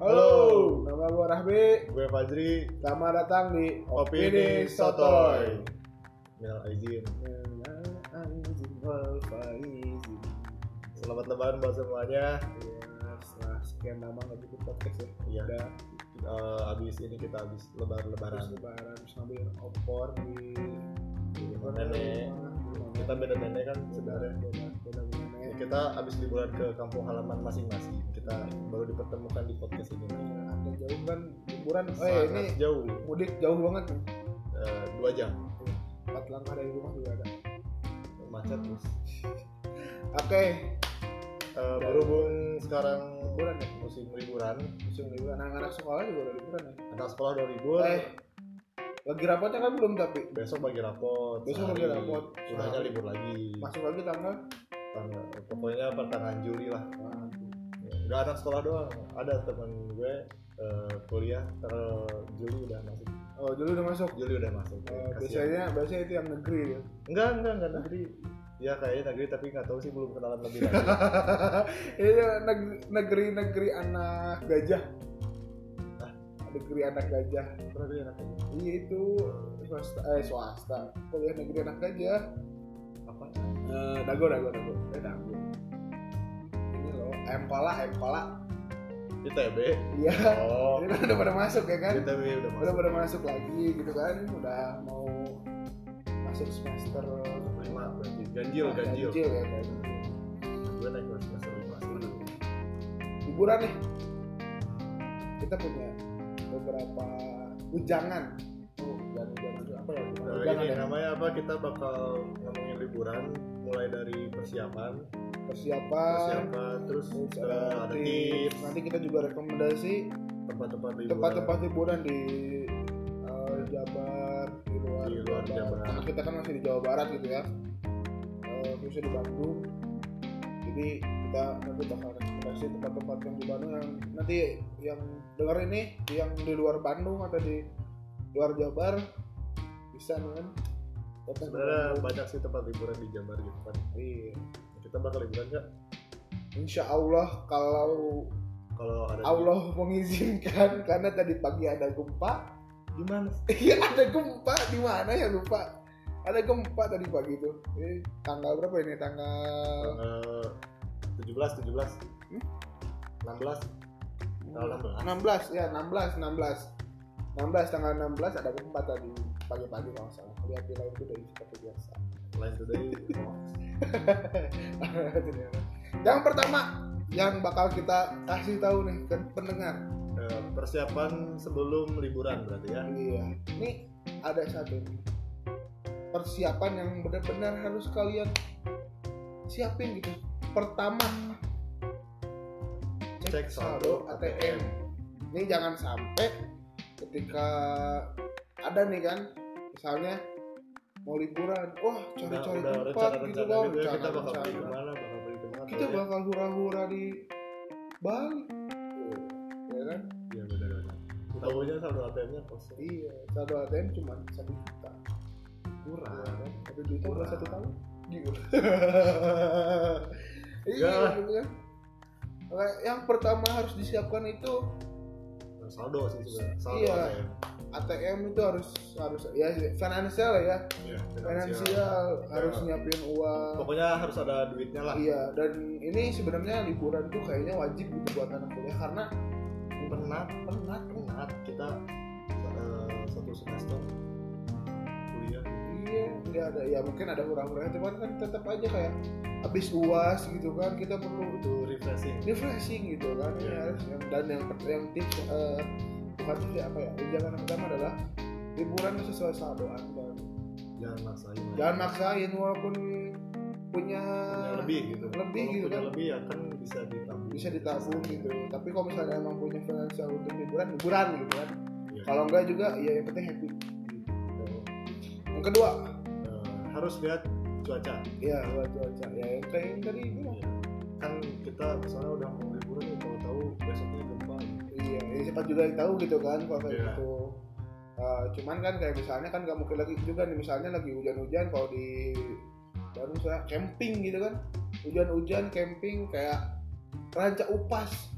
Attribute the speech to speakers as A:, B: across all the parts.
A: Halo, nama gue Rahmi.
B: Gue Fajri,
A: Selamat datang di
B: Opini Sotoy. Minal izin. Selamat lebaran buat semuanya.
A: Ya, Setelah sekian lama nggak bikin podcast ya,
B: Iya.
A: udah
B: Eh, abis ini kita habis
A: terus
B: lebaran-lebaran.
A: lebaran terus ngambil opor di
B: Di rumah nenek. Iya, Kita beda-beda kan sebenarnya.
A: beda
B: Ya, kita habis liburan ke kampung halaman masing-masing. Kita baru dipertemukan di podcast ini.
A: Agak jauh kan liburan. Oh ya, ini
B: Sangat jauh,
A: mudik jauh banget nih.
B: eh, dua jam.
A: Empat langkah dari rumah juga ada.
B: Macet terus.
A: Oke,
B: Eh, berhubung sekarang
A: liburan ya.
B: musim liburan,
A: Musim liburan. Anak-anak sekolah juga udah liburan ya.
B: anak sekolah udah libur.
A: Eh, lagi rapotnya kan belum tapi
B: Besok bagi rapot.
A: Besok bagi
B: sehari.
A: rapot.
B: Udahnya libur lagi.
A: masuk lagi tanggal
B: Tanggal- Pokoknya pertengahan Juli lah.
A: Wah,
B: nggak anak sekolah doang ada teman gue eh, kuliah ter Juli udah masuk
A: oh dulu udah masuk
B: Juli udah masuk
A: Eh,
B: Kasihan.
A: biasanya biasanya itu yang negeri ya.
B: enggak enggak enggak negeri ya kayaknya negeri tapi nggak tahu sih belum kenalan lebih lanjut
A: Ini negeri negeri anak gajah. Ah,
B: Hah?
A: Negeri anak gajah.
B: pernah beli anak ini?
A: Iya itu swasta, eh swasta. Kuliah negeri anak gajah.
B: apa
A: Eh, dago dago dago. Eh dago. Ini loh, emkola emkola.
B: ITB
A: Iya.
B: oh
A: Ini kan udah pada masuk ya kan?
B: ITB
A: Udah
B: udah masuk
A: pada masuk lagi gitu kan? Udah mau masuk semester
B: lima berarti ganjil
A: Ah,
B: ganjil
A: ganjil ya kan?
B: gue naik kelas semester lima Nah,
A: Hiburan nih. Kita punya beberapa ujangan. Oh, ujangan-ujangan itu apa ya?
B: Nah,
A: Ujangan
B: ini
A: ya?
B: namanya apa kita bakal ngomongin liburan mulai dari persiapan
A: Persiapan.
B: persiapan terus
A: Terus
B: eh,
A: ada
B: ada
A: tips.
B: tips
A: Nanti kita juga rekomendasi
B: tempat-tempat liburan
A: tempat-tempat hiburan di eh, Jabar di luar,
B: Di luar Jabar.
A: Karena kita kan masih di Jawa Barat gitu ya Eh, khususnya di Bandung jadi kita nanti bakal rekomendasi tempat-tempat yang di Bandung yang nanti yang denger ini yang di luar Bandung atau di luar Jabar bisa kan Datang ke
B: sebenarnya
A: Bandung.
B: banyak sih tempat liburan di Jabar gitu kan
A: Iya.
B: kita bakal liburan nggak
A: Insya Allah kalau
B: kalau ada
A: Allah mengizinkan karena tadi pagi ada gempa
B: di mana
A: Iya ada gempa di mana ya lupa. Ada gempa tadi pagi tuh. Ini tanggal berapa ini? Tanggal
B: Eh, tujuh belas tujuh belas
A: Hmm?
B: enam belas tanggal 16.
A: 16 ya 16 16. 16 tanggal 16 ada gempa tadi pagi-pagi kalau nggak salah. Lihat di laut itu dari seperti biasa.
B: lain today oh,
A: yang pertama yang bakal kita kasih tahu nih ke pendengar.
B: eh, persiapan sebelum liburan berarti ya
A: Iya. Ini ada satu nih. persiapan yang benar-benar harus kalian siapin gitu. Pertama
B: cek saldo ATM
A: Ini jangan sampai ketika ada nih kan, misalnya mau liburan, wah
B: udah
A: cari-cari
B: Nah, udah
A: tempat
B: rencana
A: gitu kan,
B: rencana gitu ya kita
A: rencana-
B: bakal pergi
A: rencana.
B: kemana bakal pergi kemana
A: Kita
B: ya.
A: bakal hura-hura di Bali, ya kan?
B: iya benar benar tahunya saldo ATM-nya kosong
A: Iya, saldo ATM cuma satu juta,
B: kurang
A: ya kan? Satu juta buat
B: Kurang.
A: satu tahun, gitu.
B: Ya.
A: iya, gitu kan? Makanya Yang pertama harus disiapkan itu
B: saldo sih sebenarnya
A: Nah,
B: saldo
A: Iya.
B: ATM
A: ATM itu harus harus ya finansial ya
B: Iya,
A: finansial harus nyiapin uang
B: pokoknya harus ada duitnya lah
A: iya dan ini sebenarnya liburan tuh kayaknya wajib gitu buat anak kuliah karena
B: penat penat penat kita eh, satu semester kuliah
A: iya nggak ada ya mungkin ada kurang-kurangnya cuman kan tetap aja kayak habis uas gitu kan kita perlu
B: itu refreshing
A: refreshing gitu kan ini
B: Iya.
A: harus yang dan yang yang tips eh, bukan tips ya, apa ya ujangan yang pertama adalah liburan sesuai saldo anda
B: jangan maksain lah.
A: jangan maksain walaupun punya,
B: Punya lebih gitu
A: lebih
B: Kalau
A: gitu
B: punya
A: kan
B: lebih ya kan bisa ditabung
A: bisa ditabung gitu tapi kalau misalnya emang punya finansial untuk liburan liburan gitu kan
B: Iya.
A: kalau enggak juga ya yang penting happy yang kedua
B: Eh, harus lihat cuaca
A: ya buat cuaca ya yang kayak yang tadi bilang
B: Iya. kan kita misalnya udah mau liburan nih tahu-tahu besoknya gempa
A: iya ya, cepat juga tahu gitu kan kalau kayak
B: Iya.
A: gitu Eh, cuman kan kayak misalnya kan nggak mungkin lagi juga nih misalnya lagi hujan-hujan kalau di baru misalnya camping gitu kan hujan-hujan camping kayak ranca upas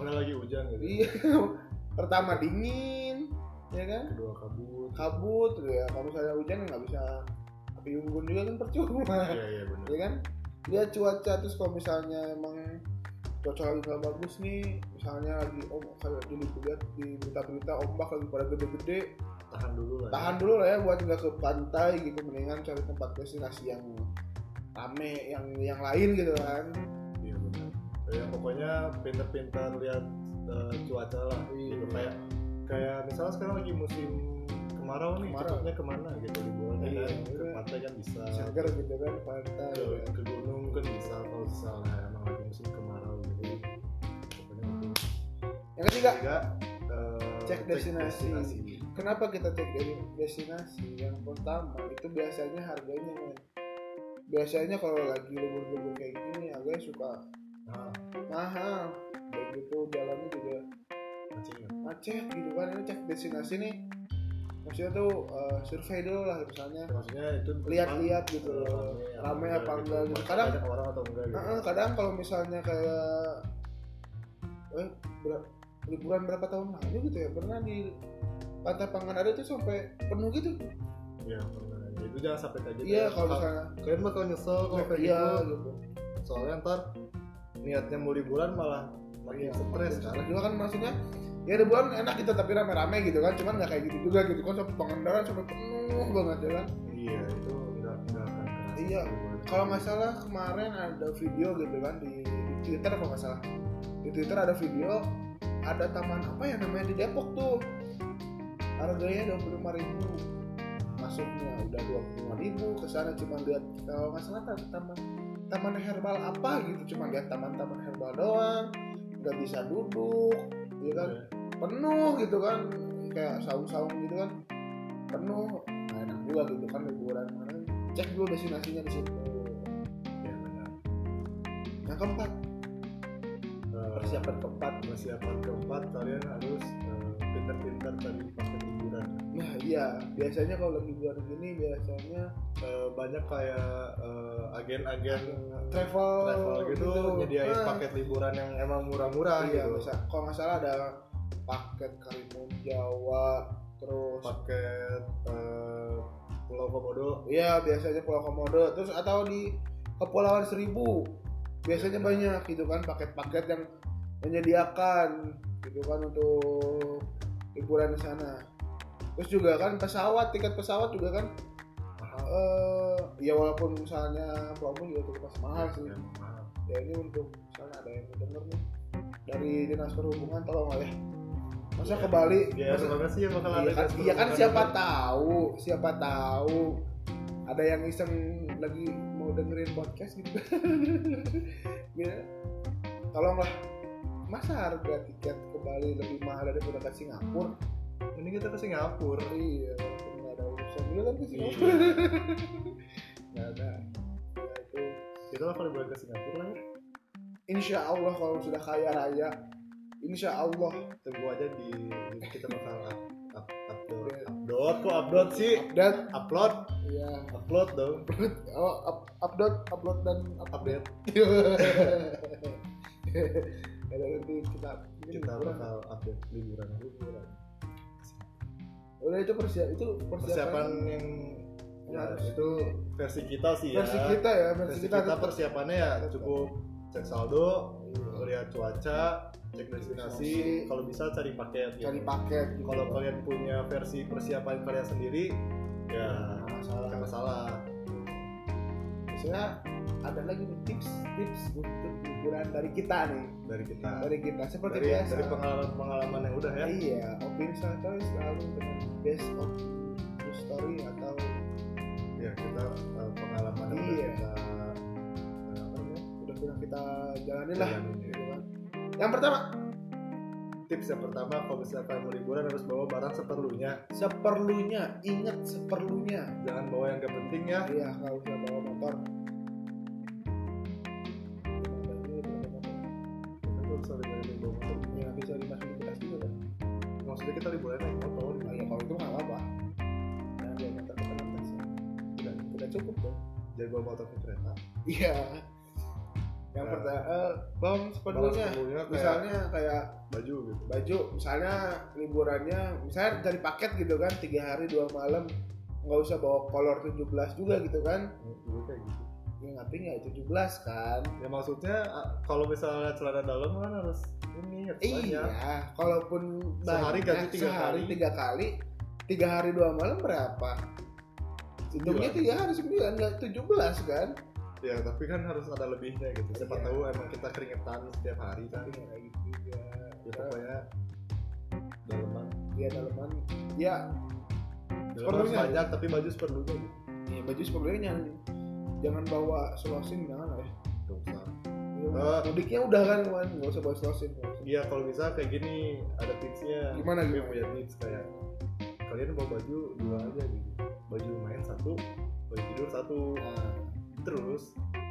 B: Mana lagi hujan gitu.
A: Iya. Pertama dingin, ya kan?
B: Kedua kabut.
A: Kabut gitu ya. Kalau misalnya hujan nggak bisa api unggun juga kan percuma.
B: Iya iya benar.
A: Ya kan? Dia cuaca terus kalau misalnya emang cuaca lagi nggak bagus nih, misalnya lagi om saya dulu lihat di berita-berita ombak lagi pada gede-gede,
B: Tahan dulu lah. ya.
A: tahan dulu lah ya buat nggak ke pantai gitu mendingan cari tempat destinasi yang rame yang yang lain gitu kan
B: Iya benar. Ya, pokoknya pinter-pinter lihat eh, cuaca lah.
A: Iya.
B: Gitu. Kayak kayak misalnya sekarang lagi musim kemarau nih,
A: Kemarau.
B: cocoknya kemana gitu liburan ya
A: Iya,
B: kan? Ke
A: iya.
B: pantai kan bisa.
A: seger gitu kan pantai
B: Ke,
A: gitu kan.
B: ke gunung kan bisa kalau misalnya emang lagi musim kemarau gitu. Pokoknya untuk
A: yang ketiga
B: ketiga, eh,
A: Cek destinasi. kenapa kita cek dari destinasi yang pertama itu biasanya harganya men. biasanya kalau lagi libur-libur kayak gini harganya suka
B: Nah,
A: mahal kayak gitu jalannya juga
B: macet ya.
A: macet gitu kan ini cek destinasi nih maksudnya tuh eh, survei dulu lah misalnya
B: maksudnya itu
A: lihat-lihat gitu loh Ramai apa enggak gitu. Kadang-
B: kadang ada orang atau enggak gitu
A: Heeh, kadang kalau misalnya kayak eh, ber- liburan berapa tahun lalu gitu ya pernah di pantai Pangandaran itu sampai penuh gitu
B: iya pernah. Ya, itu jangan sampai kayak gitu
A: iya
B: ya.
A: kalau misalnya
B: kalian bakal nyesel kalau kayak
A: iya
B: gitu
A: gitu
B: soalnya ntar niatnya mau liburan malah makin stres kan
A: juga kan maksudnya ya liburan enak gitu tapi rame-rame gitu kan cuman nggak kayak gitu juga gitu kan sampai Pangandaran sampai penuh banget ya kan
B: iya itu enggak enggak akan kerasa
A: Iya,
B: liburan.
A: kalau nggak salah kemarin ada video gitu kan di, di Twitter kalau nggak salah di Twitter ada video ada taman apa ya namanya di Depok tuh harganya dua puluh ribu masuknya udah dua puluh ribu kesana cuma lihat kalau nggak salah ada taman taman herbal apa gitu cuma lihat taman-taman herbal doang nggak bisa duduk
B: Iya,
A: ya kan penuh gitu kan kayak saung-saung gitu kan penuh nah, enak juga gitu kan liburan kemarin cek dulu destinasinya di situ Nah,
B: Iya, benar.
A: yang keempat
B: Eh,
A: persiapan keempat
B: persiapan keempat kalian harus eh, pintar-pintar cari paket liburan
A: nah iya biasanya kalau lagi liburan gini biasanya
B: Eh, banyak kayak eh, agen-agen
A: eh, travel
B: travel gitu nyediain
A: Nah,
B: paket liburan yang emang murah-murah
A: iya
B: gitu
A: bisa kalau nggak salah ada paket karimun jawa terus
B: paket eh, Pulau Komodo
A: Iya biasanya Pulau Komodo terus atau di Kepulauan Seribu biasanya banyak gitu kan paket-paket yang menyediakan gitu kan untuk liburan di sana. Terus juga kan pesawat tiket pesawat juga kan eh ya walaupun misalnya Pulau Komodo juga cukup masih mahal sih.
B: Ya, mahal.
A: Ya ini untuk misalnya ada yang denger nih dari dinas perhubungan tolong lah ya. Masa ke Bali?
B: ya
A: masa-
B: semoga sih bakal ada
A: Iya kan, iya
B: gas
A: kan
B: perhubungan
A: siapa
B: itu.
A: tahu, siapa tahu ada yang iseng lagi mau dengerin podcast gitu. ya, tolonglah masa harga tiket ke Bali lebih mahal daripada ke Singapura?
B: mending kita ke Singapura
A: Iya, walaupun nggak ada urusan juga kan ke Singapura.
B: Iya.
A: Nggak ada. Ya, itu.
B: kita bakal liburan ke Singapura lah
A: Insya Allah kalau sudah kaya raya, Insya Allah
B: tunggu aja di, di- kita bakal up, up, upload
A: Iya.
B: upload kok upload sih
A: dan
B: upload
A: ya
B: upload dong
A: oh, up, upload upload dan update.
B: update
A: Ada nanti kita
B: kita bakal update liburan liburan
A: udah itu persiap itu
B: persiapan
A: persiapan
B: yang ya
A: Harus.
B: itu versi kita sih ya
A: versi kita ya versi
B: versi
A: kita,
B: kita
A: tetap-
B: persiapannya ya
A: Tetap.
B: cukup cek saldo
A: Iya.
B: lihat cuaca cek destinasi kalau bisa cari paket gitu.
A: cari paket gitu.
B: kalau kalian punya versi persiapan kalian sendiri ya
A: Nggak Nah, masalah.
B: nggak masalah
A: biasanya ada lagi nih tips-tips untuk liburan dari kita nih
B: dari kita
A: dari kita ya. seperti
B: Nah, dari,
A: biasa
B: dari pengalaman pengalaman yang udah ya
A: iya opini santai selalu dengan best of true story atau
B: ya kita eh, pengalaman yang udah
A: Iya.
B: kita eh, apa namanya
A: udah pernah kita jalanin lah
B: jalanin, ya.
A: gitu kan. yang pertama
B: tips yang pertama kalau misalnya kalian mau liburan harus bawa barang seperlunya
A: seperlunya ingat seperlunya
B: jangan bawa yang gak penting ya
A: Iya, kalau udah bawa motor.
B: Kita harus ada yang bawa motor.
A: Ya, nggak bisa dimasukin ke tas juga kan?
B: maksudnya kita liburan naik motor
A: Nah, ya kalau itu nggak apa-apa. Nah, dia motor ke dalam tas ya. Tidak, tidak cukup dong.
B: jangan bawa motor ke kereta
A: Iya. yang
B: Nah.
A: pertama eh, bang
B: Barang
A: sepenuhnya
B: sebelumnya kayak
A: misalnya kayak
B: baju gitu
A: baju misalnya liburannya misalnya dari paket gitu kan tiga hari dua malam nggak usah bawa kolor 17 juga gitu kan
B: Dulu kayak gitu
A: ya ngapain nggak 17 kan
B: ya maksudnya ah, kalau misalnya celana dalam kan harus ini harus
A: iya
B: banyak
A: kalaupun
B: Sehari
A: banyak,
B: ganti tiga
A: sehari
B: kali.
A: tiga kali tiga hari dua malam berapa hitungnya
B: Sembilan.
A: tiga hari sembilan nggak 17 kan
B: ya tapi kan harus ada lebihnya gitu siapa
A: Iya.
B: tahu emang kita keringetan setiap hari kan
A: tapi nggak kayak gitu juga
B: ya pokoknya dalaman
A: dia daleman ya
B: dalaman harus
A: Seperlunya.
B: banyak tapi baju seperlunya gitu
A: ya baju sebenarnya jangan jangan bawa selosin jangan lah ya
B: Gak usah. Oh.
A: Ya, mudiknya udah kan kemarin nggak usah bawa selosin nggak usah.
B: Iya kalau bisa kayak gini ada tipsnya.
A: Gimana,
B: Gue
A: gimana?
B: punya tips kayak kalian bawa baju dua aja gitu. Baju main satu, baju tidur satu.
A: Nah,
B: Terus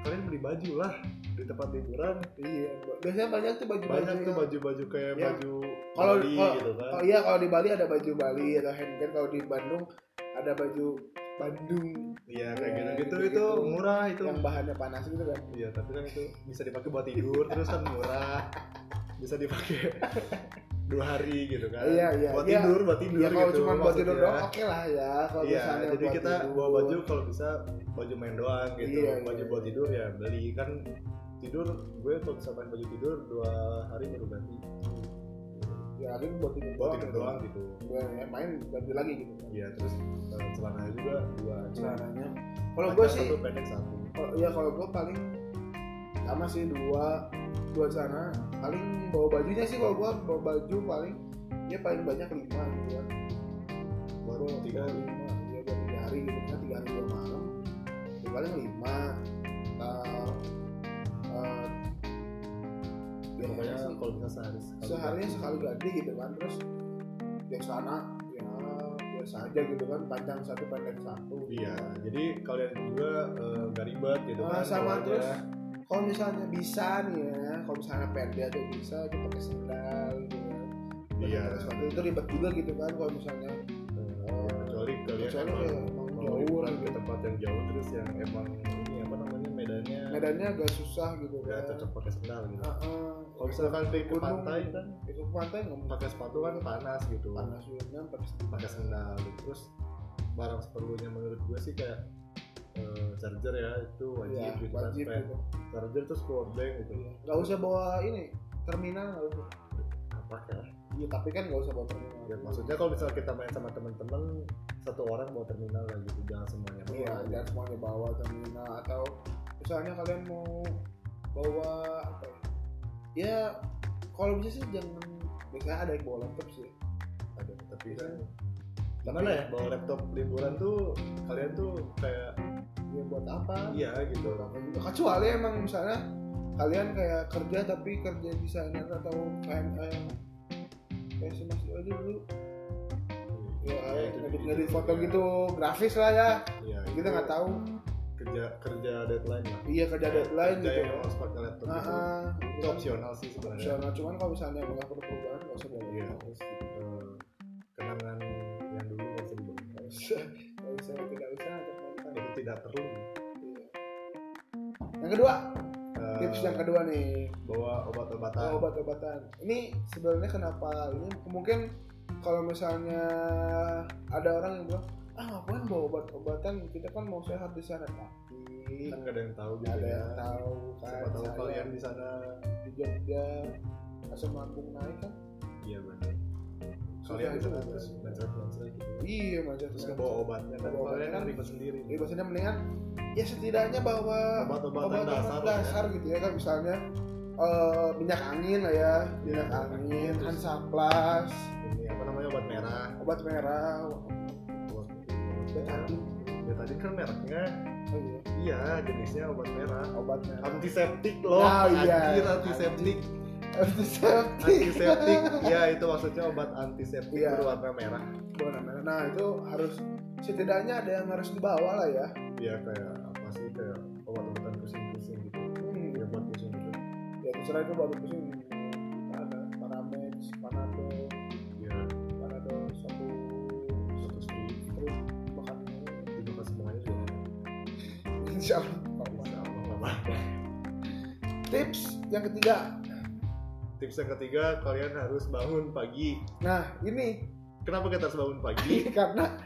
B: kalian beli baju lah di tempat liburan.
A: iya biasanya banyak tuh baju
B: Banyak tuh baju-baju kayak
A: Ya.
B: baju
A: Kalau-
B: Bali
A: kalau-
B: gitu kan.
A: oh iya kalau di Bali ada baju Bali atau handbag kalau di Bandung ada baju Bandung
B: Iya kayak
A: Ya,
B: gitu-gitu itu
A: gitu-gitu.
B: murah itu.
A: yang bahannya panas gitu kan
B: Iya tapi kan itu bisa dipakai buat tidur terus kan murah. Bisa dipakai dua hari gitu kan.
A: Iya, iya,
B: Buat
A: iya.
B: tidur, buat tidur
A: ya kalau
B: gitu.
A: cuma buat tidur
B: maksudnya.
A: doang oke lah ya kalau misalnya
B: Iya, jadi
A: buat
B: kita
A: tidur.
B: bawa baju kalau bisa baju main doang gitu.
A: Iya,
B: baju
A: iya.
B: buat tidur ya beli kan tidur gue kalau bisa main baju tidur dua hari baru ganti.
A: ya akhirnya buat tidur
B: Buat
A: doang,
B: tidur
A: gitu.
B: doang gitu.
A: Gua, ya, main ganti lagi gitu kan
B: Iya terus eh, celana juga dua aja.
A: celananya kalau
B: Panjang
A: gue sih
B: satu pendek satu.
A: kalau ya kalau gue paling sama sih dua dua sana paling bawa bajunya sih kalau gue bawa baju paling ya paling banyak lima gitu kan
B: Buat
A: Gua
B: tiga
A: bawa
B: hari.
A: lima ya buat tiga hari gitu kan tiga hari dua malam ya paling lima atau eh,
B: Ya, pokoknya
A: biasanya sih
B: kalau bisa sehari. sekali.
A: Iya. seharinya sekali ganti gitu kan terus yang sana ya biasa aja gitu kan panjang satu pendek satu
B: Iya, jadi kalian juga eh, nggak ribet gitu
A: Ah,
B: kan.
A: sama
B: bawanya.
A: terus kalau misalnya bisa nih ya kalau misalnya pendek atau bisa kita pakai sendal gitu kan
B: Iya.
A: Pakai sepatu itu ribet juga gitu kan kalau misalnya
B: Eh, ya, kecuali kalian
A: kecuali
B: emang
A: ya, emang
B: mau
A: jauh
B: liburan
A: gitu
B: ke iya. tempat yang jauh terus yang emang ini apa namanya medannya
A: medannya agak susah gitu
B: nggak
A: kan
B: cocok pakai sendal gitu.
A: Ah, ah.
B: Kalau misalkan pergi ke
A: Gunung.
B: pantai kan
A: itu ke pantai nggak
B: pakai sepatu kan panas gitu.
A: panas juga kan pakai sendal
B: Pakai sendal gitu. terus barang seperlunya menurut gue sih kayak eh, charger ya itu wajib
A: ya
B: gitu
A: wajib
B: kan.
A: gitu
B: Charger terus power bank gitu.
A: Iya. nggak usah bawa ini terminal nggak usah
B: Apa kayak
A: iya tapi kan nggak usah bawa terminal
B: ya, maksudnya kalau misalnya kita main sama teman-teman satu orang bawa terminal lah gitu jangan semuanya bawa.
A: Iya, jangan semuanya bawa terminal atau misalnya kalian mau bawa apa ya? Ya, kalau bisa sih jangan biasanya ada yang bawa laptop sih.
B: Ada, tapi
A: Iya.
B: kan gimana ya bawa laptop liburan tuh kalian tuh kayak
A: Ya buat apa?
B: iya gitu
A: Kecuali emang misalnya kalian kayak kerja tapi kerja desainer atau KMA yang kayak semester aja dulu ya
B: Iya, itu-
A: ngedit
B: itu-
A: ngedit foto
B: ya.
A: gitu grafis lah ya
B: Iya,
A: kita
B: itu
A: nggak tahu
B: kerja kerja deadline lah
A: iya kerja deadline
B: kerja
A: gitu
B: yang harus pakai laptop
A: nah,
B: gitu.
A: ah,
B: itu opsional sih sebenarnya
A: opsional cuman kalau misalnya nggak perlu perubahan nggak usah bawa
B: Iya.
A: laptop.
B: Eh, kenangan yang dulu nggak usah dibongkar
A: Gak usah, tidak usah ajak mantan.
B: itu tidak perlu
A: Iya. Yang kedua,
B: Eh,
A: tips yang kedua nih,
B: bawa obat-obatan
A: oh, obat-obatan. Ini sebenarnya kenapa? Ini mungkin kalau misalnya ada orang yang bilang, ah ngapain bawa obat-obatan? Kita kan mau sehat di sana tapi
B: kan nggak ada yang tahu
A: nggak
B: gitu
A: ada
B: ya
A: yang tahu
B: siapa
A: kan
B: tahu
A: saya
B: kalian di sana
A: di Jogja asam lambung naik kan?
B: iya benar kalian
A: Susah
B: di sana
A: juga
B: terus
A: sih.
B: mencret-mencret gitu
A: Iya macam
B: terus bawa obatnya kan
A: Bawa
B: kalian
A: obatnya
B: kan
A: kan.
B: ribet sendiri
A: Jadi maksudnya mendingan ya setidaknya bawa
B: obat-obatan
A: obat
B: dasar
A: dasar,
B: lah ya.
A: dasar gitu ya kan misalnya eh, minyak angin lah ya minyak
B: Iya,
A: angin
B: terus-
A: hansaplas
B: ini apa namanya obat merah
A: obat merah
B: obat
A: betadin
B: ya tadi kan mereknya
A: oh iya
B: iya jenisnya obat merah
A: obat merah
B: antiseptik loh
A: Ah, iya.
B: anjir antiseptik
A: antiseptik
B: antiseptik ya itu maksudnya obat antiseptik
A: Iya.
B: berwarna merah
A: warna merah nah itu harus setidaknya ada yang harus dibawa lah ya
B: ya kayak apa sih kayak obat-obatan pusing-pusing gitu
A: hmm.
B: ya buat pusing gitu
A: ya terserah itu baru pusing ada paramex panadol
B: ya
A: panadol satu
B: satu studi
A: terus makan
B: terima kasih semuanya juga
A: insya Allah
B: Insya Allah, Bapak.
A: tips yang ketiga
B: tips yang ketiga kalian harus bangun pagi
A: nah ini
B: kenapa kita harus bangun pagi
A: karena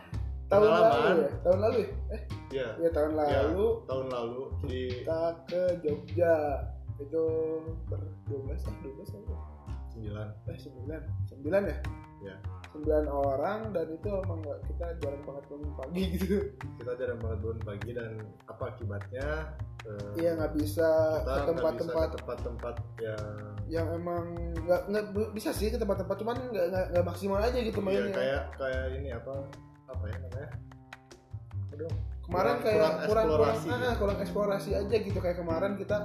A: tahun lalu
B: Pengalaman.
A: ya tahun lalu ya eh
B: ya
A: ya tahun
B: kan? Ya.
A: lalu
B: tahun lalu di
A: kita ke Jogja itu ber 12 ah 12 apa?
B: 9
A: eh 9 9 ya
B: Ya.
A: 9 orang dan itu emang nggak kita jarang banget bangun pagi gitu
B: kita jarang banget bangun pagi dan apa akibatnya Eh,
A: iya nggak bisa
B: kita
A: ke
B: nggak
A: tempat-tempat
B: bisa ke tempat-tempat yang
A: yang emang nggak nggak bisa sih ke tempat-tempat cuman nggak nggak nggak maksimal aja gitu
B: ya,
A: mainnya
B: kayak kayak ini apa apa ya namanya Aduh,
A: kemarin
B: kurang-
A: kayak
B: kurang
A: kurang kurang
B: eksplorasi
A: kurang,
B: gitu.
A: ah, kurang eksplorasi aja gitu kayak kemarin kita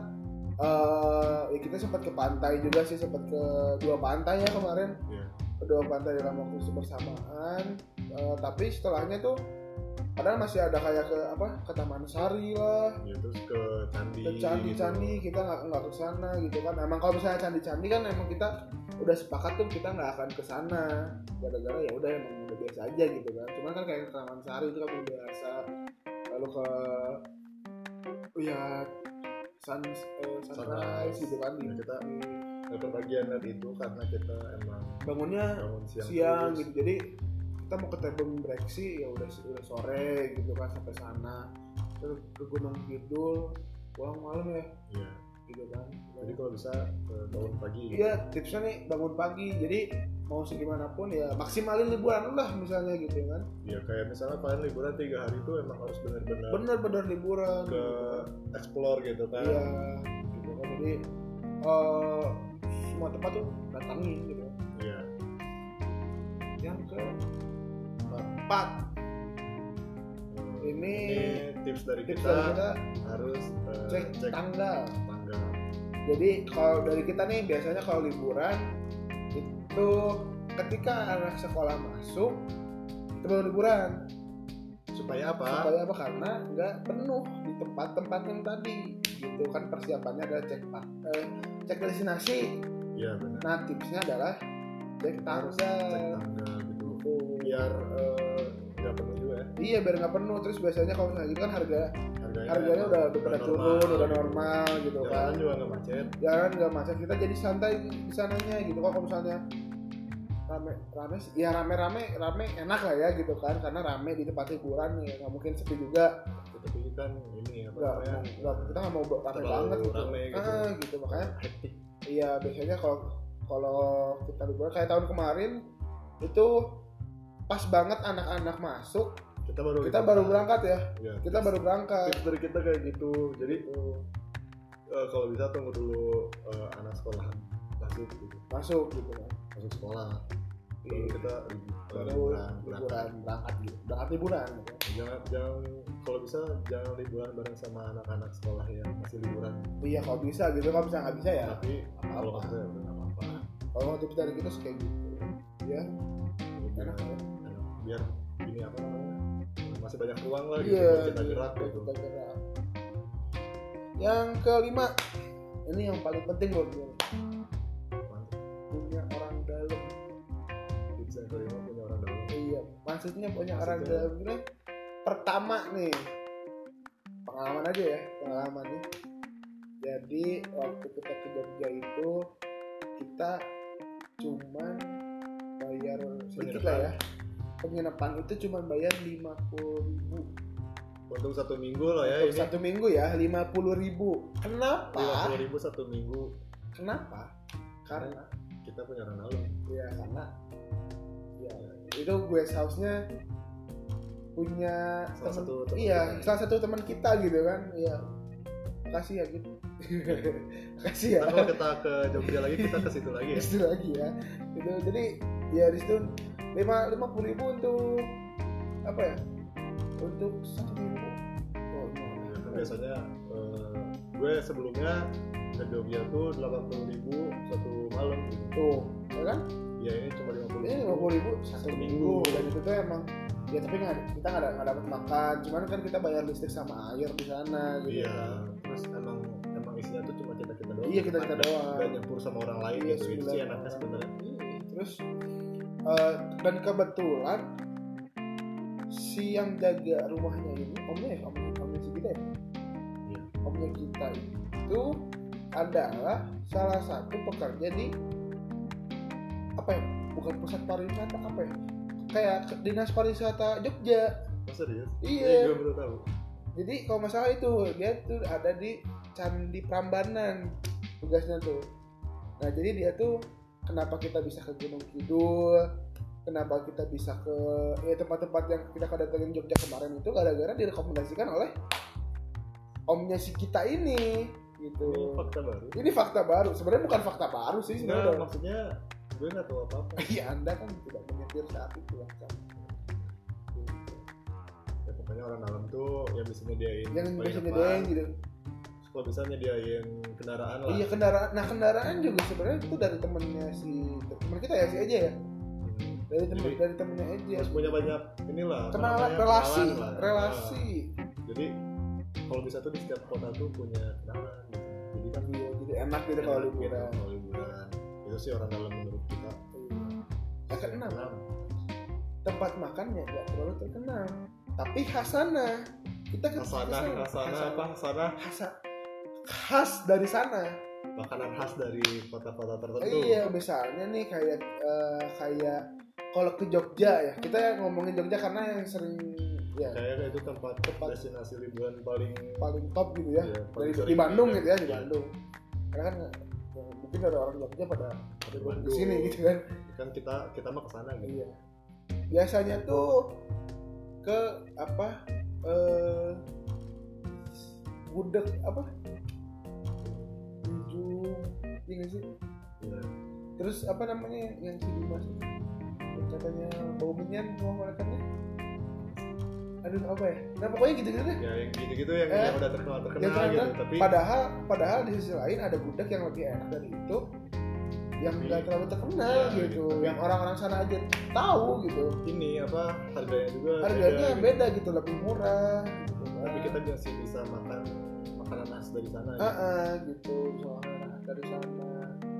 A: eh ya kita sempat ke pantai juga sih sempat ke dua pantai ya kemarin
B: Iya.
A: kedua pantai dalam waktu bersamaan Eh, tapi setelahnya tuh padahal masih ada kayak ke apa ke Taman Sari lah
B: ya, terus ke candi
A: ke candi-candi
B: gitu.
A: kita nggak nggak ke sana gitu kan emang kalau misalnya candi-candi kan emang kita udah sepakat tuh kita nggak akan ke sana gara-gara ya udah emang udah biasa aja gitu kan cuman kan kayak ke Taman Sari itu kan udah biasa lalu ke ya sun eh, sunrise
B: Sunrise.
A: gitu kan
B: Ya,
A: kita
B: kita- Nah, kebagian dari itu karena kita emang
A: bangunnya
B: bangun siang,
A: siang
B: terus.
A: gitu jadi kita mau ke Tebing Breksi ya udah udah sore gitu kan sampai sana terus ke Gunung Kidul pulang malam ya
B: Iya.
A: gitu kan
B: jadi kalau bisa eh, bangun pagi
A: Iya tipsnya nih bangun pagi jadi mau segimanapun ya maksimalin liburan lah misalnya gitu kan
B: ya kayak misalnya kalian liburan tiga hari itu emang harus benar-benar
A: bener-bener liburan
B: ke
A: gitu kan.
B: explore gitu kan
A: iya gitu kan jadi eh, semua tempat tuh datangin gitu
B: Iya.
A: yang ke empat
B: Hmm,
A: Ini
B: tips dari
A: tips
B: kita,
A: dari kita
B: harus eh,
A: cek, tanggal
B: tanggal
A: jadi kalau dari kita nih biasanya kalau liburan itu ketika anak sekolah masuk itu baru liburan
B: supaya apa?
A: supaya apa karena nggak penuh di tempat-tempat yang tadi gitu kan persiapannya adalah cek pak eh, cek destinasi
B: Iya benar.
A: nah tipsnya adalah cek
B: Harus cek
A: tanggal
B: tanggal gitu.
A: Gitu.
B: Biar eh, nggak penuh juga ya
A: iya biar nggak penuh terus biasanya kalau misalnya gitu kan harga
B: harganya.
A: harganya udah udah pada turun udah
B: Iya, gitu.
A: normal gitu kan
B: Jalanan juga nggak macet.
A: jalan nggak macet kita jadi santai di sananya gitu kok kalau misalnya rame rame sih- ya rame rame rame enak lah ya gitu kan karena rame di tempat hiburan ya nggak mungkin sepi juga
B: Tapi kan ini apa
A: nggak
B: namanya?
A: mau- nggak kita nggak mau rame
B: Terlalu
A: banget gitu.
B: rame gitu.
A: Ah, gitu makanya iya biasanya kalau kalau kita liburan kayak tahun kemarin itu pas banget anak-anak masuk
B: Kita baru
A: kita baru berangkat ya
B: Iya.
A: kita baru berangkat
B: Tips dari kita kayak gitu. Jadi eh, kalau bisa tunggu dulu eh, anak sekolah masuk gitu.
A: masuk gitu kan
B: masuk sekolah baru
A: Iya.
B: kita eh,
A: baru
B: liburan berangkat.
A: liburan berangkat gitu berangkat liburan gitu.
B: jangan jangan kalau bisa jangan liburan bareng sama anak-anak sekolah yang masih liburan
A: iya kalau bisa gitu kalau bisa nggak bisa ya
B: tapi
A: apa-apa.
B: kalau nggak bisa ya udah nggak apa-apa
A: kalau tips dari kita sih kayak gitu ya
B: biar,
A: enak ya
B: biar ini apa namanya masih banyak ruang lah gitu
A: Iya,
B: buat kita gerak gitu
A: kita gerak. Yang kelima, ini yang paling penting buat gue. Punya orang dalam.
B: tips yang kelima punya orang dalam
A: Iya, maksudnya punya
B: Maksudnya?
A: orang dalam ini pertama nih pengalaman aja ya pengalamannya. Jadi waktu kita ke Jogja itu kita cuman bayar sedikit lah ya penginapan itu cuman bayar lima ribu
B: untuk satu minggu lah
A: Untuk
B: ya ini Iya,
A: satu minggu ya lima puluh ribu.
B: lima
A: Kenapa?
B: ribu satu minggu
A: Kenapa? Karena
B: kita punya orang dalam
A: ya karena ya itu guest house-nya punya
B: Salah
A: temen-
B: satu temen
A: iya
B: kita.
A: salah satu teman kita gitu kan iya makasih ya gitu makasih ya
B: Ntar kalau kita ke Jogja lagi kita ke situ lagi ya
A: itu lagi ya itu jadi ya di situ lima lima puluh ribu untuk apa ya untuk satu minggu oh,
B: Ya, kan
A: iya.
B: biasanya eh, gue sebelumnya ke Jogja tuh delapan puluh ribu satu malam gitu.
A: tuh ya kan
B: ya ini cuma lima puluh
A: ini lima puluh ribu satu minggu dan itu tuh emang ya tapi nggak kita nggak ada- nggak dapat makan cuman kan kita bayar listrik sama air di sana gitu
B: iya terus emang emang isinya tuh cuma kita kita doang
A: Iya, kita-kita
B: Nggak-
A: doang.
B: nggak nyampur sama orang lain
A: Iya,
B: gitu itu sih
A: sembilan
B: enaknya
A: orang.
B: sebenarnya
A: terus eh, dan kebetulan si yang jaga rumahnya ini omnya ya om omnya si kita ya
B: Iya.
A: omnya kita itu adalah salah satu pekerja di apa ya bukan pusat pariwisata apa ya kayak ke- dinas pariwisata Jogja
B: Masa Oh, dia?
A: Iya.
B: gue baru tahu.
A: jadi kalau masalah itu dia tuh ada di Candi Prambanan tugasnya tuh nah jadi dia tuh kenapa kita bisa ke Gunung Kidul kenapa kita bisa ke ya tempat-tempat yang kita kedatengin Jogja kemarin itu gara-gara direkomendasikan oleh omnya si kita ini
B: Ini
A: gitu
B: Oh, fakta baru.
A: ini fakta baru sebenarnya bukan fakta baru sih
B: Enggak,
A: sebenarnya
B: maksudnya gue nggak tahu apa-apa.
A: Iya Anda kan tidak menyetir saat itu kan.
B: Ya, pokoknya orang dalam tuh yang bisa nyediain
A: Jangan
B: paling
A: bisa
B: depan.
A: nyedoyan gitu.
B: Terus Kalau bisa nyediain kendaraan lah.
A: Iya kendaraan. Nah kendaraan juga sebenarnya itu dari temennya si teman kita ya si aja ya.
B: Hmm.
A: Dari temen
B: Jadi-
A: dari temennya aja.
B: Harus punya banyak inilah. apa
A: Iya. Kenal
B: namanya,
A: relasi
B: kenalan lah.
A: relasi.
B: Nah, jadi kalau bisa tuh di setiap kota tuh punya kenalan. gitu. Jadi kan
A: Iya jadi enak gitu kalau
B: enak gitu,
A: liburan.
B: Kalau liburan itu sih orang dalam menurut kita.
A: Nah, kenal.
B: Dalam.
A: Tempat makannya nggak terlalu terkenal. Tapi Hasanah kita ke
B: Hasanah,
A: kesana.
B: hasanah apa?
A: Hasanah.
B: Hasanah
A: Hasa- khas dari sana.
B: makanan khas dari kota-kota tertentu.
A: Iya, misalnya nih kayak eh, kayak kalau ke Jogja ya, kita ngomongin Jogja karena yang sering ya
B: Kayaknya itu tempat tempat destinasi liburan paling
A: paling top gitu ya.
B: Iya,
A: Dari
B: paling
A: di
B: sering
A: Bandung
B: kita-
A: gitu ya, di
B: Iya.
A: Bandung. Karena kan ya, mungkin ada orang Jogja pada
B: Tapi
A: di sini gitu kan.
B: kan kita kita mah kesana gitu
A: Iya. Biasanya tuh ke apa eh gudeg apa? Ujung, iya nggak sih?
B: Iya.
A: Terus apa namanya yang si Dimas yang katanya bau menyan semua mereka Aduh apa ya? Nah pokoknya gitu gitu deh.
B: ya yang gitu gitu yang,
A: Eh,
B: yang udah terkenal terkenal
A: yang ternyata,
B: gitu tapi
A: padahal padahal di sisi lain ada gudeg yang lebih enak dari itu yang
B: Tapi-
A: nggak terlalu terkenal
B: Ya,
A: gitu,
B: tapi-
A: yang orang-orang sana aja tahu gitu.
B: ini apa harganya juga beda,
A: Harganya
B: gitu.
A: beda gitu, lebih murah. Gitu.
B: tapi kita masih bisa makan makanan khas dari sana
A: Ah, ah, gitu soalnya dari sana.
B: gitu.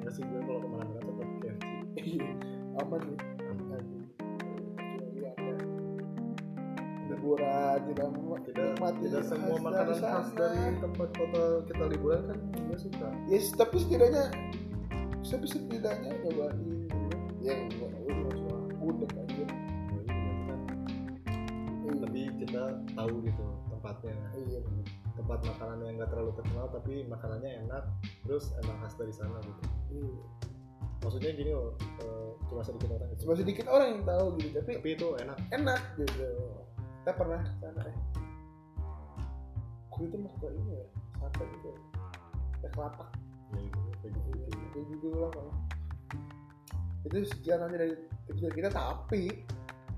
B: Nggak sih gue kalau kemana-mana tetap ya. KFC
A: Iya, apa sih? liburan tidak mu-
B: tidak
A: nikmati
B: tidak semua
A: khas
B: makanan
A: dari
B: khas
A: sana.
B: dari tempat kota kita liburan kan dia suka
A: yes tapi setidaknya tapi setidaknya coba ya gua tahu gua cuma gudeg aja Iya,
B: Jadi, teman-teman, iya, tapi kita tahu gitu tempatnya
A: iya bener.
B: tempat makanan yang nggak terlalu terkenal tapi makanannya enak terus emang khas dari sana gitu
A: Iya.
B: maksudnya gini loh eh, cuma sedikit orang gitu
A: cuma sedikit orang yang tahu gitu tapi
B: tapi itu enak
A: enak gitu kita pernah ke sana ya waktu itu mau ke ini ya sate gitu ya teh kelapa
B: ya gitu, kayak gitu,
A: Iya,
B: gitu.
A: kayak gitu lah kalau itu sekian aja dari tips dari kita tapi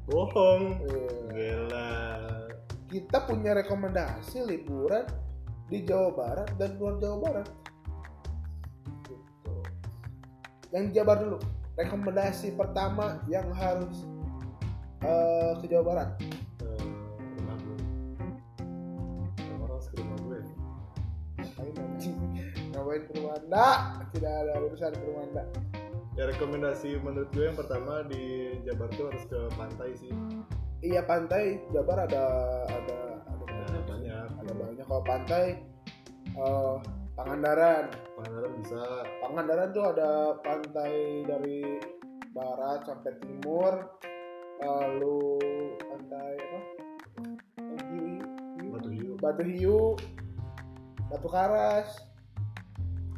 B: bohong
A: eh,
B: gila
A: kita punya rekomendasi liburan di Jawa Barat dan luar Jawa Barat. Gitu. Yang Jabar dulu, rekomendasi pertama yang harus eh, ke Jawa Barat.
B: Eh, rumah gue orang ke rumah gue
A: Ngapain anjing? Ngapain ke Rwanda? Tidak ada urusan ke Rwanda.
B: ya rekomendasi menurut gue yang pertama di Jabar tuh harus ke pantai sih
A: Iya pantai Jabar ada ada ada
B: ada banyak
A: Ada banyak kalau pantai eh, Pangandaran.
B: Pangandaran bisa
A: Pangandaran tuh ada pantai dari barat sampai timur, lalu pantai apa? Batu Hiu,
B: Batu Hiu
A: Batu Hiu, Batu Karas,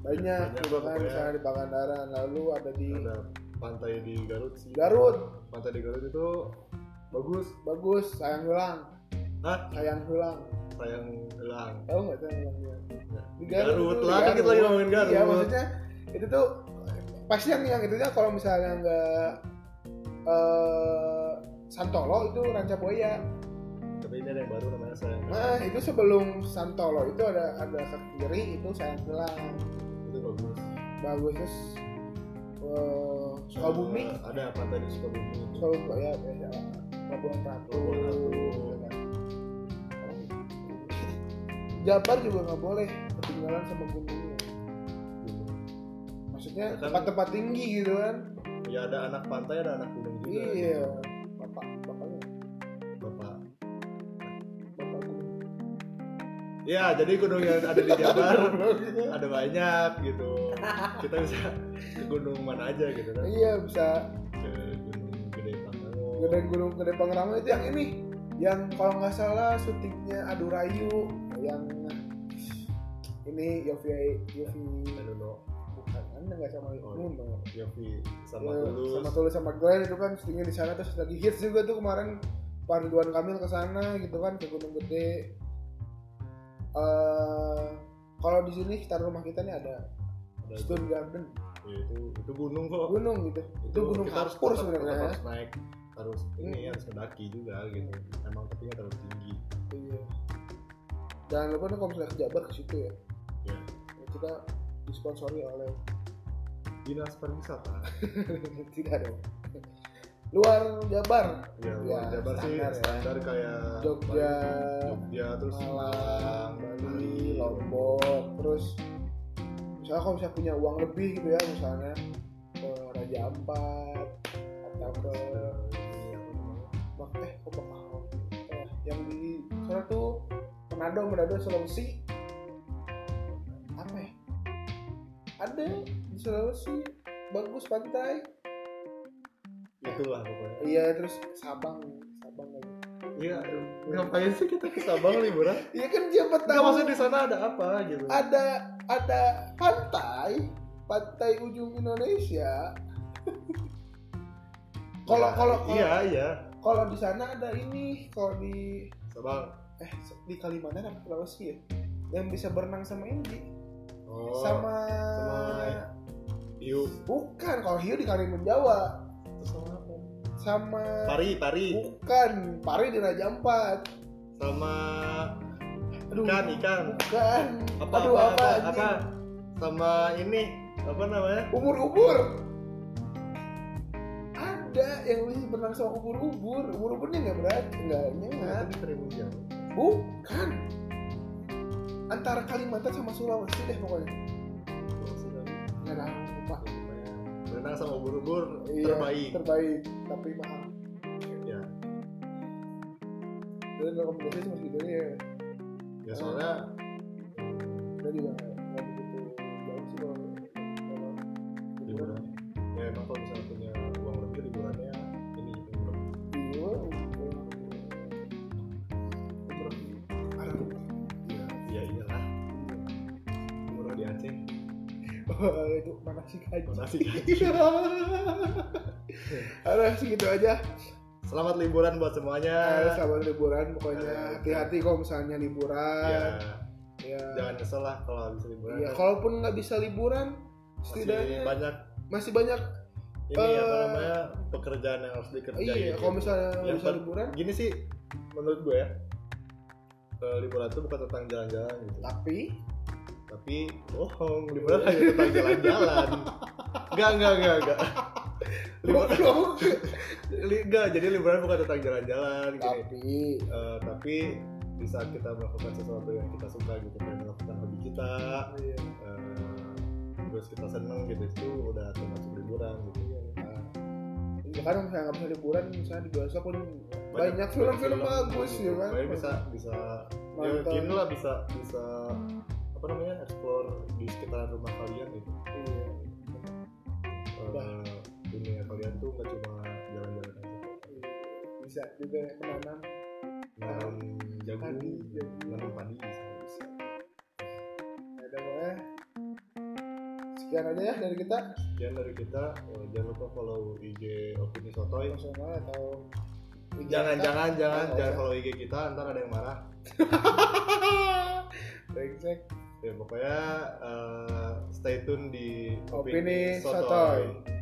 A: banyak
B: Banyak
A: juga kan
B: pokoknya.
A: di sana di Pangandaran. Lalu ada di
B: ada pantai di Hmm. Garut sih
A: Garut,
B: pantai di Garut itu bagus
A: bagus, sayang hilang,
B: Hah?
A: sayang hilang.
B: sayang hilang
A: Tahu nggak sayang hilangnya? Di
B: Garut
A: tuh,
B: lah
A: di
B: kan kita lagi ngomongin Garut
A: Iya maksudnya itu tuh pasti yang yang itunya kalau misalnya nggak eh Santolo itu Ranca Boya.
B: tapi ini ada yang baru namanya sayang
A: Nah itu sebelum Santolo itu ada ada ke kiri itu saya bilang
B: itu bagus
A: bagus terus eh, Sukabumi,
B: Eh, ada pantai di Sukabumi itu
A: Sukabumi ya ya ya, Pelabuhan Ratu.
B: Pelabuhan Ratu.
A: gitu kan. Jabar juga nggak boleh ketinggalan sama gunungnya. Maksudnya
B: Ya kan?
A: tempat-tempat tinggi gitu kan.
B: ya ada anak pantai ada anak gunung juga
A: Iya, bapak, bapaknya,
B: bapak
A: bapak gue.
B: ya ya jadi gunung yang ada di Jabar ada banyak gitu kita bisa ke gunung mana aja gitu kan
A: iya bisa
B: ke gunung gede Pangango
A: gede gunung gede Pangrango itu yang ini yang kalau nggak salah syutingnya Adurayu yang ini Yofi Yofi
B: Adono
A: bukan anda nggak sama
B: Oh,
A: Nuno
B: Yofi sama
A: Ya,
B: Tulus
A: sama Tulus sama Glenn itu kan syutingnya di sana terus lagi hits juga tuh kemarin Pak Ridwan Kamil ke sana gitu kan ke Gunung Gede eh kalau di sini sekitar rumah kita nih ada
B: Ada itu,
A: Stone Garden
B: ya, itu itu gunung kok
A: gunung gitu itu gunung
B: kita harus
A: kapur
B: tetap- tetap
A: sebenarnya.
B: harus naik harus ini
A: Hmm.
B: harus mendaki juga gitu emang tapi nggak terlalu tinggi
A: Iya. Dan lu kan kalau misalnya ke Jabar ke situ ya.
B: Iya.
A: Ya, Kita disponsori oleh
B: dinas pariwisata
A: tidak dong. Luar Jabar,
B: ya,
A: Ya,
B: Jabar
A: standar
B: sih
A: ya.
B: standar kayak
A: Jogja,
B: Nah, Jogja terus
A: Malang, Bali, Lombok, terus misalnya kalau misalnya punya uang lebih gitu ya misalnya ke Raja Ampat atau ke Bak- eh ke Bakalau. Eh, yang di sana tuh Manado, Manado, Sulawesi apa ya? Ada di Sulawesi bagus pantai.
B: itulah pokoknya
A: Iya terus Sabang, Sabang lagi.
B: iya ngapain sih kita ke Sabang liburan
A: Iya kan siapa
B: nggak
A: tahu
B: maksud di sana ada apa gitu
A: ada ada pantai pantai ujung Indonesia. Kalau
B: Ya,
A: kalau kalau-
B: iya iya
A: kalau di sana ada ini kalau di
B: Sabang
A: eh di Kalimantan apa Sulawesi ya yang bisa berenang sama ini
B: oh
A: sama,
B: sama- Iu
A: bukan kalau hiu di Karimun Jawa
B: terus sama apa
A: sama
B: Pari Pari
A: bukan pare di Raja Ampat
B: sama
A: aduh
B: ikan ikan
A: bukan
B: apa
A: aduh
B: apa apa,
A: anjing?
B: apa? sama ini apa namanya
A: ubur-ubur ada yang bisa berenang sama ubur-ubur ubur-uburnya nggak berat nggak nyengat
B: Itu di Karimun Jawa.
A: bukan antara Kalimantan sama Sulawesi deh pokoknya
B: Iya
A: nggak tahu lupa
B: berenang sama ubur-ubur
A: Iya,
B: terbaik
A: terbaik tapi mahal
B: ya.
A: jadi rekomendasi cuma segitu aja ya
B: ya soalnya
A: kita juga nggak nggak begitu jauh sih kalau kalau liburan
B: liburan ya emang kalau misalnya punya uang lebih liburannya ini liburan
A: Iya, liburan. Arab.
B: ya iya iyalah liburan di Aceh
A: Oh, itu mana sih Iya. kaji
B: Mana sih kaji?
A: Aduh, segitu gitu aja.
B: selamat liburan buat semuanya
A: Ayo, sahabat liburan
B: Eh.
A: pokoknya hati-hati kalau misalnya
B: ya
A: liburan. Ya.
B: jangan kesel lah kalau habis liburan
A: Iya, kalaupun nggak bisa liburan,
B: masih
A: setidaknya
B: banyak
A: masih banyak.
B: ini apa
A: Eh,
B: namanya pekerjaan yang harus dikerjain
A: Iya, kalau misalnya nggak
B: Yang
A: bisa
B: pen-
A: liburan,
B: gini sih menurut gue ya eh, liburan itu bukan tentang jalan-jalan gitu
A: tapi
B: tapi bohong liburan hanya tentang jalan-jalan enggak enggak enggak enggak liburan li- enggak jadi liburan bukan tentang jalan-jalan gini
A: tapi
B: Eh, tapi di saat kita melakukan sesuatu yang kita suka gitu kayak melakukan hobi kita
A: Iya.
B: eh, terus kita seneng gitu itu udah termasuk liburan gitu
A: Iya,
B: Nah,
A: Ya kan misalnya nggak bisa liburan, misalnya di Gaza
B: Ya,
A: pun banyak, film-film bagus ya kan.
B: Banyak bisa bisa ya
A: Nonton.
B: gini lah bisa bisa apa namanya explore di sekitaran rumah kalian gitu.
A: Iya. Udah.
B: Eh, dunia kalian tuh nggak cuma jalan-jalan aja.
A: iya. Bisa juga ya, menanam
B: Nanam jagung,
A: padi, jadi ya
B: nanam padi bisa bisa.
A: ada pokoknya. Sekian aja ya dari kita.
B: Sekian dari kita. Eh, jangan lupa follow IG Opini Sotoy.
A: Nasional atau
B: Jangan jangan jangan
A: Nggak
B: Oh, jangan
A: usah.
B: follow IG kita, ntar ada yang marah.
A: Brengsek.
B: Ya pokoknya eh, stay tune di
A: Opini Sotoy.